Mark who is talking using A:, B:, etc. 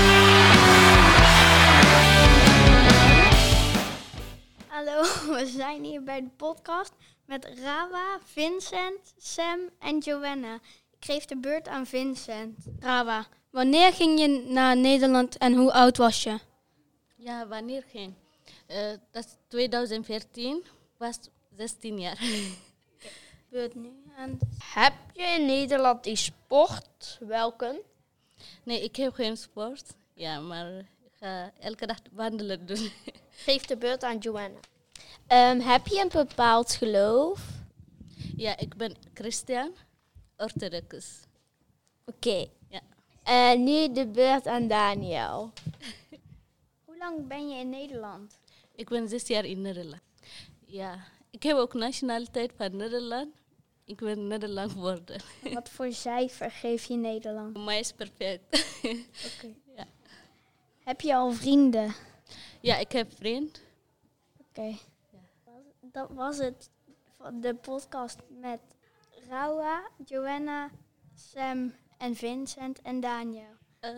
A: bij de podcast met Rawa, Vincent, Sam en Joanna. Ik geef de beurt aan Vincent.
B: Rawa, wanneer ging je naar Nederland en hoe oud was je?
C: Ja, wanneer ging? Eh, dat is 2014, was 16 jaar.
A: Beurt nu aan.
D: Heb je in Nederland die sport? Welke?
C: Nee, ik heb geen sport. Ja, maar ik ga elke dag wandelen doen.
D: Geef de beurt aan Joanna. Ehm, heb je een bepaald geloof?
C: ja, ik ben christian, orthodox.
D: Oké.
C: Ja.
D: En Eh, nu de beurt aan Daniel.
A: Hoe lang ben je in Nederland?
C: Ik ben zes jaar in Nederland. Ja, ik heb ook nationaliteit van Nederland. Ik ben Nederland geworden.
A: Wat voor cijfer geef je Nederland?
C: Voor mij is perfect.
A: Heb je al vrienden?
C: ja, ik heb vriend.
A: Oké. Dat was het van de podcast met Rawa, Joanna, Sam en Vincent en Daniel.
C: Eh,